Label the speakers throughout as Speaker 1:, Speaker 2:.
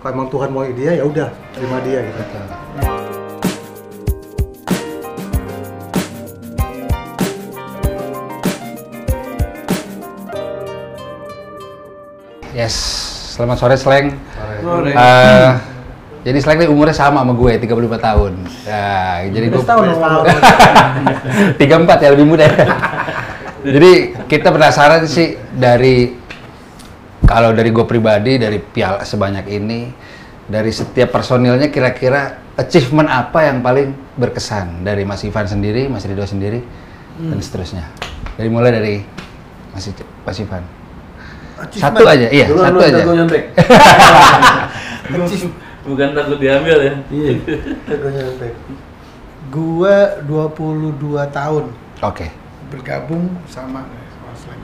Speaker 1: kalau emang Tuhan mau dia ya udah terima dia gitu
Speaker 2: Yes, selamat sore Sleng.
Speaker 3: ya.
Speaker 4: Sore.
Speaker 2: Eh, jadi Sleng ini umurnya sama sama gue, 35 tahun. Nah, jadi gue
Speaker 1: Terus tahun dong kalau
Speaker 2: 34 ya lebih muda. jadi kita penasaran sih dari kalau dari gue pribadi dari piala sebanyak ini dari setiap personilnya kira-kira achievement apa yang paling berkesan dari Mas Ivan sendiri, Mas Ridho sendiri
Speaker 4: Hmm.
Speaker 2: dan seterusnya. Dari mulai dari Mas, Ic- Mas Ivan. Satu aja, iya,
Speaker 4: Duluan,
Speaker 2: satu
Speaker 4: duluan,
Speaker 2: aja.
Speaker 4: ntar gua nyontek.
Speaker 5: Bukan takut diambil ya.
Speaker 1: iya
Speaker 4: Gua 22 tahun
Speaker 2: Oke.
Speaker 4: bergabung sama sama Slang.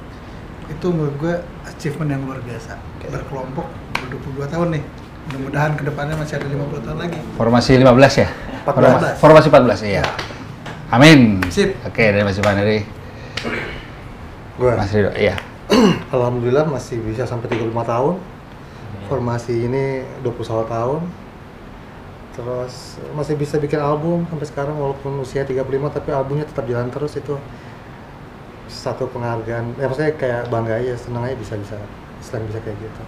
Speaker 4: Itu menurut gua achievement yang luar biasa. Berkelompok udah 22 tahun nih. Mudah-mudahan kedepannya masih ada 50 tahun lagi.
Speaker 2: Formasi 15 ya?
Speaker 1: 14.
Speaker 2: Formasi 14, iya. Amin.
Speaker 4: Sip.
Speaker 2: Oke, dari Mas Ivan dari
Speaker 1: gue
Speaker 2: Mas Ridho, iya.
Speaker 1: alhamdulillah masih bisa sampai 35 tahun formasi ini 21 tahun terus masih bisa bikin album sampai sekarang walaupun usia 35 tapi albumnya tetap jalan terus itu satu penghargaan ya maksudnya kayak bangga aja senang aja bisa bisa selain bisa kayak gitu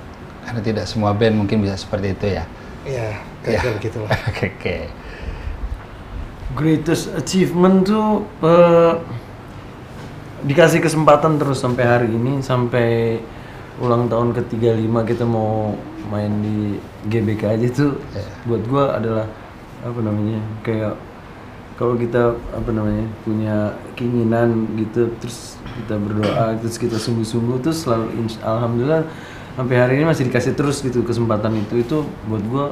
Speaker 2: Karena tidak semua band mungkin bisa seperti itu ya.
Speaker 1: iya kayak
Speaker 2: Iya.
Speaker 1: gitu lah
Speaker 2: Oke, oke.
Speaker 5: Greatest achievement tuh eh, dikasih kesempatan terus sampai hari ini sampai ulang tahun ke-35 kita mau main di GBK aja tuh buat gua adalah apa namanya kayak kalau kita apa namanya punya keinginan gitu terus kita berdoa terus kita sungguh-sungguh terus selalu insya- alhamdulillah sampai hari ini masih dikasih terus gitu kesempatan itu itu buat gua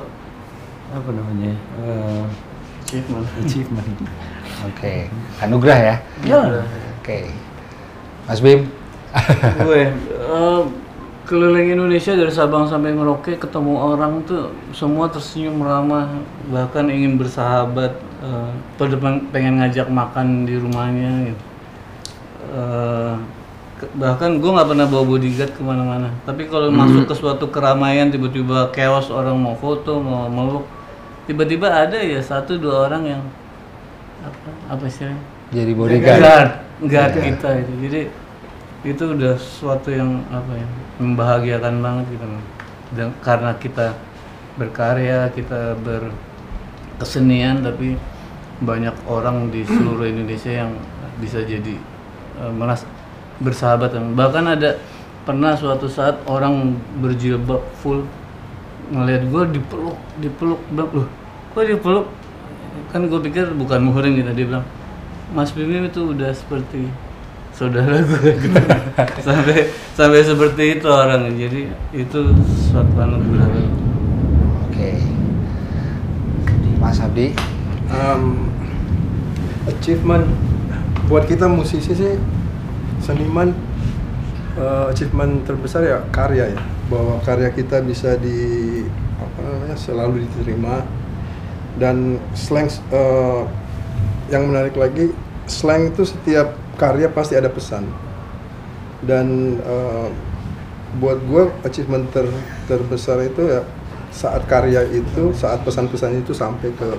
Speaker 5: apa namanya eh, achievement
Speaker 2: Oke, anugerah ya.
Speaker 6: Iya.
Speaker 5: ya
Speaker 2: Oke. Mas Bim.
Speaker 3: gue eh, keliling Indonesia dari Sabang sampai Merauke ketemu orang tuh semua tersenyum ramah bahkan ingin bersahabat eh, pada peng- pengen ngajak makan di rumahnya gitu Eh, ke- bahkan gue nggak pernah bawa bodyguard kemana-mana tapi kalau masuk ke suatu keramaian tiba-tiba chaos orang mau foto mau meluk tiba-tiba ada ya satu dua orang yang apa apa istilahnya
Speaker 2: Jadi
Speaker 3: guard
Speaker 2: bodyguard.
Speaker 3: guard kita itu jadi itu udah sesuatu yang apa ya membahagiakan banget gitu dan karena kita berkarya kita berkesenian tapi banyak orang di seluruh Indonesia yang bisa jadi eh, meras bersahabat bahkan ada pernah suatu saat orang berjilbab full ngelihat gue dipeluk dipeluk bilang loh kok dipeluk kan gue pikir bukan muhrim gitu dia bilang Mas Bim itu udah seperti saudara gue sampai sampai seperti itu orang jadi itu suatu anugerah
Speaker 2: Oke. Mas Abdi.
Speaker 7: Um, achievement buat kita musisi sih seniman eh, achievement terbesar ya karya ya bahwa karya kita bisa di apa namanya selalu diterima dan slang eh, yang menarik lagi slang itu setiap karya pasti ada pesan dan eh, buat gue achievement ter- terbesar itu ya saat karya itu saat pesan-pesan itu sampai ke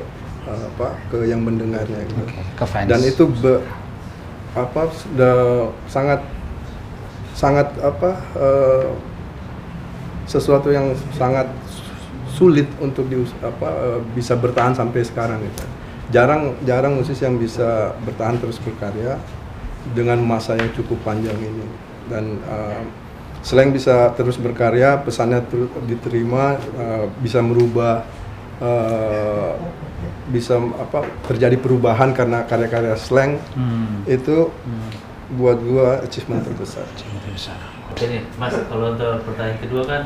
Speaker 7: eh, apa ke yang mendengarnya gitu
Speaker 2: Oke, ke fans.
Speaker 7: dan itu be- apa sudah sangat sangat apa eh, sesuatu yang sangat sulit untuk di apa eh, bisa bertahan sampai sekarang gitu. Jarang jarang musisi yang bisa bertahan terus berkarya dengan masa yang cukup panjang ini dan eh, selain bisa terus berkarya pesannya ter- diterima eh, bisa merubah eh, bisa apa terjadi perubahan karena karya-karya slang
Speaker 3: Hmm.
Speaker 7: itu buat gua achievement terbesar.
Speaker 6: Oke nih, Mas, kalau untuk pertanyaan kedua kan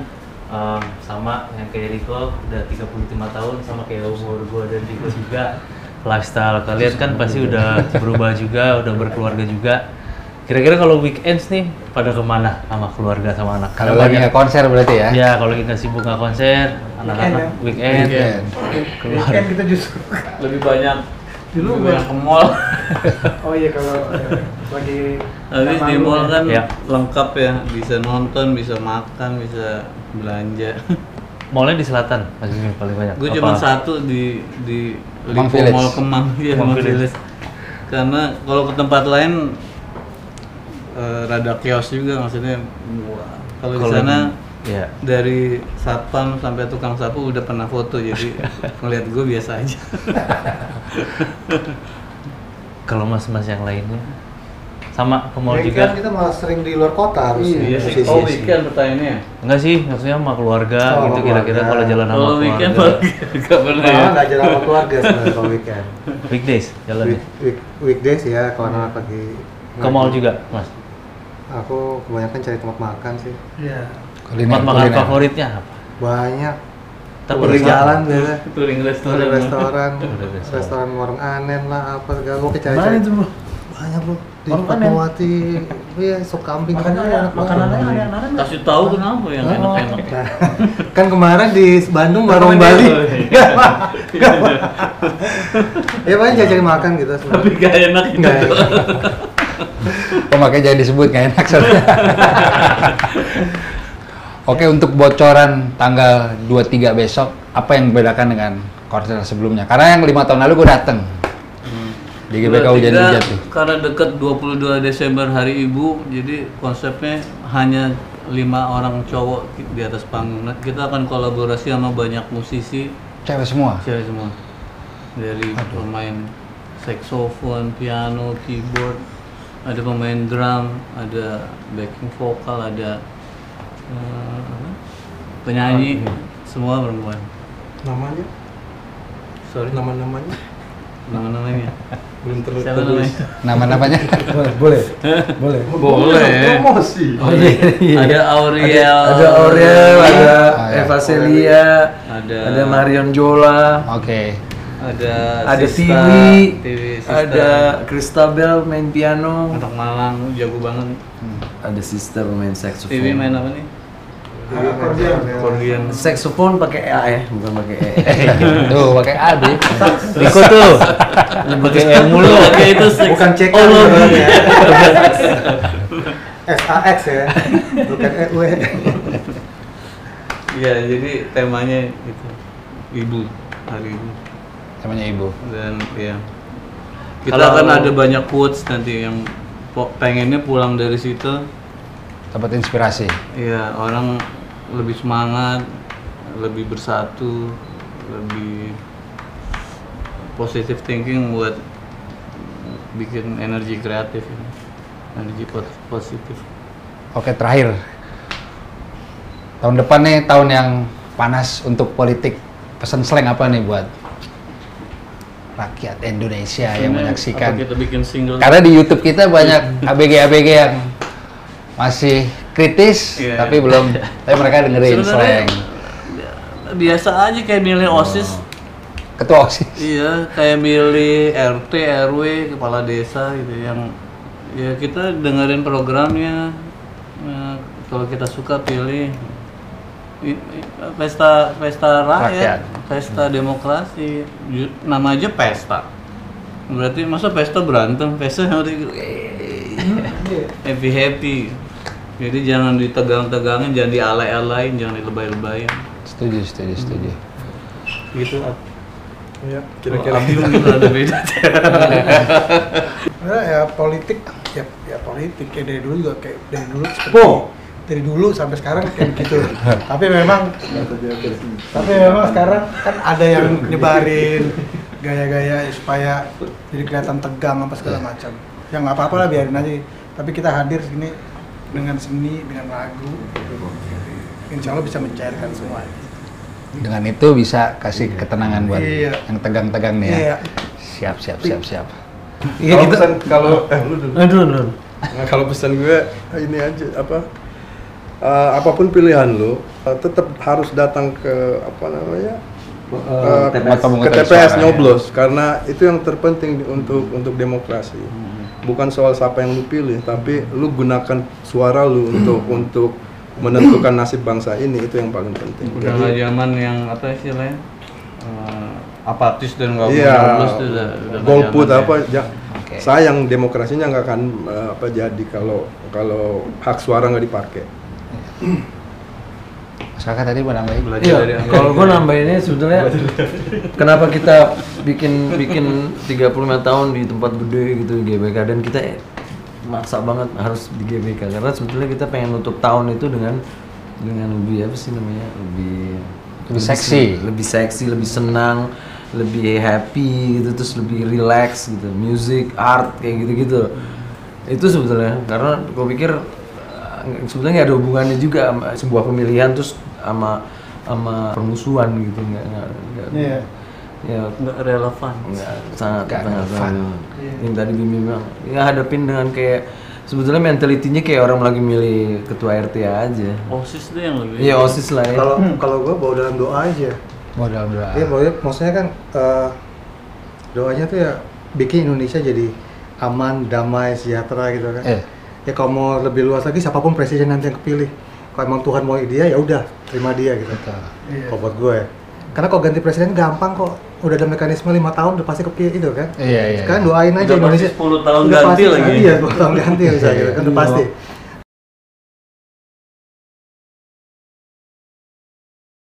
Speaker 6: em, sama yang kayak Riko udah 35 tahun sama kayak umur gua dan Riko juga. Lifestyle kalian kan pasti udah berubah juga, udah berkeluarga juga. Kira-kira kalau weekends nih pada kemana sama keluarga sama anak? Karena
Speaker 2: kalau lagi
Speaker 6: banyak-
Speaker 2: nggak konser berarti ya.
Speaker 6: Ya, kalau kita sibuk nggak konser, anak-anak
Speaker 7: Iya,
Speaker 6: weekend,
Speaker 2: Weekend.
Speaker 6: keluar.
Speaker 4: Kan kita justru
Speaker 5: lebih banyak
Speaker 4: Dulu
Speaker 5: lebih
Speaker 4: gua-
Speaker 5: banyak ke mall
Speaker 4: Oh iya kalau eh, lagi
Speaker 3: habis
Speaker 4: sama
Speaker 3: di
Speaker 4: lu
Speaker 3: mall
Speaker 4: ya.
Speaker 3: kan
Speaker 6: Iya.
Speaker 3: lengkap ya bisa nonton bisa makan bisa belanja
Speaker 6: Mallnya di selatan, Mas Jimmy paling banyak.
Speaker 3: Gue
Speaker 6: Apa?
Speaker 3: cuma satu di di
Speaker 2: Kemang
Speaker 3: Lipo
Speaker 2: Village.
Speaker 3: Mall Kemang
Speaker 6: Kemang
Speaker 3: ya Kemang
Speaker 6: Village.
Speaker 3: Village. Karena kalau ke tempat lain eh, rada kios juga maksudnya. Kalau di
Speaker 6: Kalau-
Speaker 3: sana
Speaker 6: Iya.
Speaker 3: dari satpam sampai tukang sapu udah pernah foto jadi ngeliat gue biasa aja.
Speaker 6: Kalau mas-mas yang lainnya sama ke mall
Speaker 1: Ya,
Speaker 6: juga.
Speaker 1: kan Iya, kita malah sering di luar kota harusnya.
Speaker 4: Iya.
Speaker 1: musisi.
Speaker 3: Oh weekend pertanyaannya.
Speaker 6: Enggak sih, maksudnya sama keluarga
Speaker 1: Oh,
Speaker 6: gitu
Speaker 1: sama
Speaker 6: kira-kira
Speaker 1: keluarga.
Speaker 6: kalau jalan sama
Speaker 3: Kalau Oh, weekend
Speaker 6: keluarga.
Speaker 3: malah gak pernah ya.
Speaker 1: Malah nggak jalan sama keluarga sebenarnya kalau weekend.
Speaker 6: Weekdays jalan ya. Hmm.
Speaker 1: Week, week, weekdays ya kalau anak lagi
Speaker 6: Ke mall juga, Mas.
Speaker 1: Aku kebanyakan cari tempat makan sih.
Speaker 4: Iya.
Speaker 6: Tempat makan favoritnya apa?
Speaker 1: Banyak.
Speaker 6: Tapi
Speaker 1: Touring jalan biasa.
Speaker 3: Touring
Speaker 1: Touring
Speaker 3: restoran.
Speaker 1: restoran,
Speaker 6: Touring restoran.
Speaker 1: restoran warung anen lah apa segala gue cari
Speaker 5: Mana itu bro?
Speaker 1: banyak bro di
Speaker 5: Warung Anen.
Speaker 1: Fatmawati iya sop kambing
Speaker 4: Makanan makanannya aneh-aneh.
Speaker 3: Kan Kasih tahu kenapa yang enak-enak.
Speaker 1: Nah, kan kemarin di Bandung warung Bali Nggak, Pak. Nggak, Pak.
Speaker 4: Iya,
Speaker 1: ya paling cari makan gitu
Speaker 3: Tapi
Speaker 1: sebenarnya
Speaker 3: gak enak gitu.
Speaker 1: Nggak, ya.
Speaker 2: Pemakai Oh, jangan disebut nggak enak soalnya. Oke untuk bocoran tanggal 23 besok apa yang membedakan dengan konser sebelumnya? Karena yang lima tahun lalu gue dateng di GBK hujan-hujan tuh.
Speaker 3: Karena dekat 22 Desember hari Ibu, jadi konsepnya hanya lima orang cowok di atas panggung. Nah, kita akan kolaborasi sama banyak musisi
Speaker 2: Cewek semua.
Speaker 3: cewek semua. Dari pemain saxophone, piano, keyboard, ada pemain drum, ada backing vokal, ada eh, apa? penyanyi, semua perempuan.
Speaker 7: namanya
Speaker 3: Sorry,
Speaker 7: nama-namanya
Speaker 3: nama-namanya.
Speaker 7: belum terlalu
Speaker 3: Siapa namanya?
Speaker 2: Nama-namanya.
Speaker 7: boleh boleh
Speaker 3: Boleh.
Speaker 7: promosi
Speaker 3: ada Auriel,
Speaker 5: Oh, iya, Ada Aurel, ada
Speaker 2: Ah, ya.
Speaker 5: Eva Celia,
Speaker 3: ada
Speaker 5: ada Marion Jola,
Speaker 2: Oke.
Speaker 3: ada
Speaker 5: ada
Speaker 3: Sista,
Speaker 5: Tiwi,
Speaker 3: Tiwi, Sista.
Speaker 5: ada Christabel main piano,
Speaker 3: anak Malang jago banget.
Speaker 5: ada Sister main
Speaker 3: Tiwi main
Speaker 5: saxophone.
Speaker 3: apa nih?
Speaker 1: Akordeon.
Speaker 5: Saxophone pakai A ya, bukan pakai E.
Speaker 2: Tuh pakai A deh.
Speaker 6: Riko tuh. Pakai yang mulu.
Speaker 3: Oke itu seks.
Speaker 1: bukan CK
Speaker 5: gitu
Speaker 3: Oh,
Speaker 1: ya,
Speaker 3: belum.
Speaker 1: Bang, ya. SAX ya bukan
Speaker 4: E
Speaker 1: EW
Speaker 3: Iya jadi temanya itu ibu hari ibu
Speaker 2: Namanya ibu.
Speaker 3: dan ya kita
Speaker 6: Kalau-
Speaker 3: akan ada banyak quotes nanti yang po- pengennya pulang dari situ
Speaker 2: Dapat inspirasi.
Speaker 3: ya orang lebih semangat lebih bersatu lebih positive thinking buat bikin energi kreatif ini. energi po- positif
Speaker 2: Oke terakhir. Tahun depan nih tahun yang panas untuk politik. Pesan slang apa nih buat rakyat Indonesia yang
Speaker 3: Ini
Speaker 2: menyaksikan?
Speaker 3: Iya. apa kita bikin single
Speaker 2: Karena di YouTube kita banyak ABG-ABG yang masih kritis,
Speaker 3: Iya.
Speaker 2: tapi belum, tapi mereka dengerin
Speaker 3: Sebenarnya-
Speaker 2: slang.
Speaker 3: biasa aja kayak milih osis
Speaker 2: Ketua OSIS.
Speaker 3: Iya, kayak milih RT, RW, kepala desa gitu yang ya kita dengerin programnya. Nah, kalau kita suka pilih I- i- pesta pesta
Speaker 2: Rakyat.
Speaker 3: rakyat, pesta demokrasi. Ju- Nama aja pesta. Berarti masa pesta berantem, pesta yang udah gitu, "Eh,
Speaker 4: Iya.
Speaker 3: happy happy. Jadi jangan ditegang-tegangin, jangan dialay-alayin, jangan dilebay-lebayin.
Speaker 2: Setuju, setuju, setuju.
Speaker 3: Gitu. Ab.
Speaker 7: ya
Speaker 3: Kira-kira
Speaker 7: kira-kira
Speaker 3: gitu ada beda.
Speaker 4: Nah, ya politik, ya, ya politik ya dari dulu juga kayak dari dulu seperti dari dulu sampai sekarang kayak gitu. tapi memang, tapi memang sekarang kan ada yang nyebarin gaya-gaya supaya jadi kelihatan tegang apa segala macam. Yang nggak apa-apa lah biarin aja. Tapi kita hadir sini dengan seni, dengan lagu. Insya Allah bisa mencairkan semua.
Speaker 2: Dengan itu bisa kasih ketenangan buat
Speaker 4: Iya.
Speaker 2: yang tegang-tegang nih ya.
Speaker 4: Iya.
Speaker 2: Siap, siap, siap, siap.
Speaker 7: kalau pesan kalau eh lu dulu
Speaker 5: Aduh, aduh.
Speaker 7: Nah, kalau pesan gue ini aja apa eh, apapun pilihan lo eh, tetap harus datang ke apa namanya eh,
Speaker 2: TPS.
Speaker 7: ke
Speaker 2: Pemungutan
Speaker 7: TPS
Speaker 2: suara,
Speaker 7: nyoblos karena itu yang terpenting di- untuk untuk demokrasi bukan soal siapa yang lu pilih tapi lu gunakan suara lu untuk untuk menentukan nasib bangsa ini itu yang paling penting
Speaker 3: udah nggak zaman yang apa istilahnya eh, apatis dan nggak
Speaker 7: Iya,
Speaker 3: nyoblos tuh udah udah nggak
Speaker 7: golput
Speaker 3: zaman ya.
Speaker 7: apa ja-
Speaker 2: Oke.
Speaker 7: sayang demokrasinya nggak akan eh, apa jadi kalau kalau hak suara nggak dipakai.
Speaker 2: Mas kakak tadi mau nambahin?
Speaker 5: Iya, kalau gue nambahinnya sebetulnya kenapa kita bikin bikin 35 tahun di tempat gede gitu di GBK dan kita maksa banget harus di GBK karena sebetulnya kita pengen nutup tahun itu dengan dengan lebih apa sih namanya lebih
Speaker 2: Lebih seksi.
Speaker 5: lebih seksi lebih senang lebih happy gitu terus lebih relax gitu music art kayak gitu gitu itu sebetulnya karena gue pikir Nggak- sebetulnya nggak ada hubungannya juga sama sebuah pemilihan terus sama sama permusuhan gitu nggak nggak nggak
Speaker 4: Iya.
Speaker 5: ya
Speaker 3: nggak relevan
Speaker 5: nggak sangat
Speaker 2: Nggak
Speaker 5: sangat
Speaker 2: relevan.
Speaker 5: sangat. yang tadi Bim bilang ya hadapin dengan kayak sebetulnya mentalitinya kayak orang lagi milih ketua RT aja
Speaker 3: osis deh yang lebih
Speaker 5: iya osis lah ya
Speaker 1: Kalau kalau gue bawa dalam doa aja.
Speaker 2: Modal doa.
Speaker 1: Iya, bahwa maksudnya kan eh, doanya tuh ya bikin Indonesia jadi aman, damai, sejahtera gitu kan.
Speaker 2: Eh.
Speaker 1: Ya kalau mau lebih luas lagi siapapun presiden nanti yang kepilih. Kalau emang Tuhan mau dia ya udah terima dia gitu.
Speaker 2: Betul.
Speaker 1: Kalau buat gue ya. Karena kalau ganti presiden gampang kok. Udah ada mekanisme lima tahun udah pasti kepilih itu kan.
Speaker 2: Iya, iya.
Speaker 1: Sekarang doain
Speaker 3: Udah
Speaker 1: aja
Speaker 3: pasti
Speaker 1: Indonesia.
Speaker 3: 10 tahun
Speaker 1: Udah
Speaker 3: ganti
Speaker 1: pasti,
Speaker 3: lagi.
Speaker 1: Iya, 10 tahun ganti bisa gitu kan udah pasti.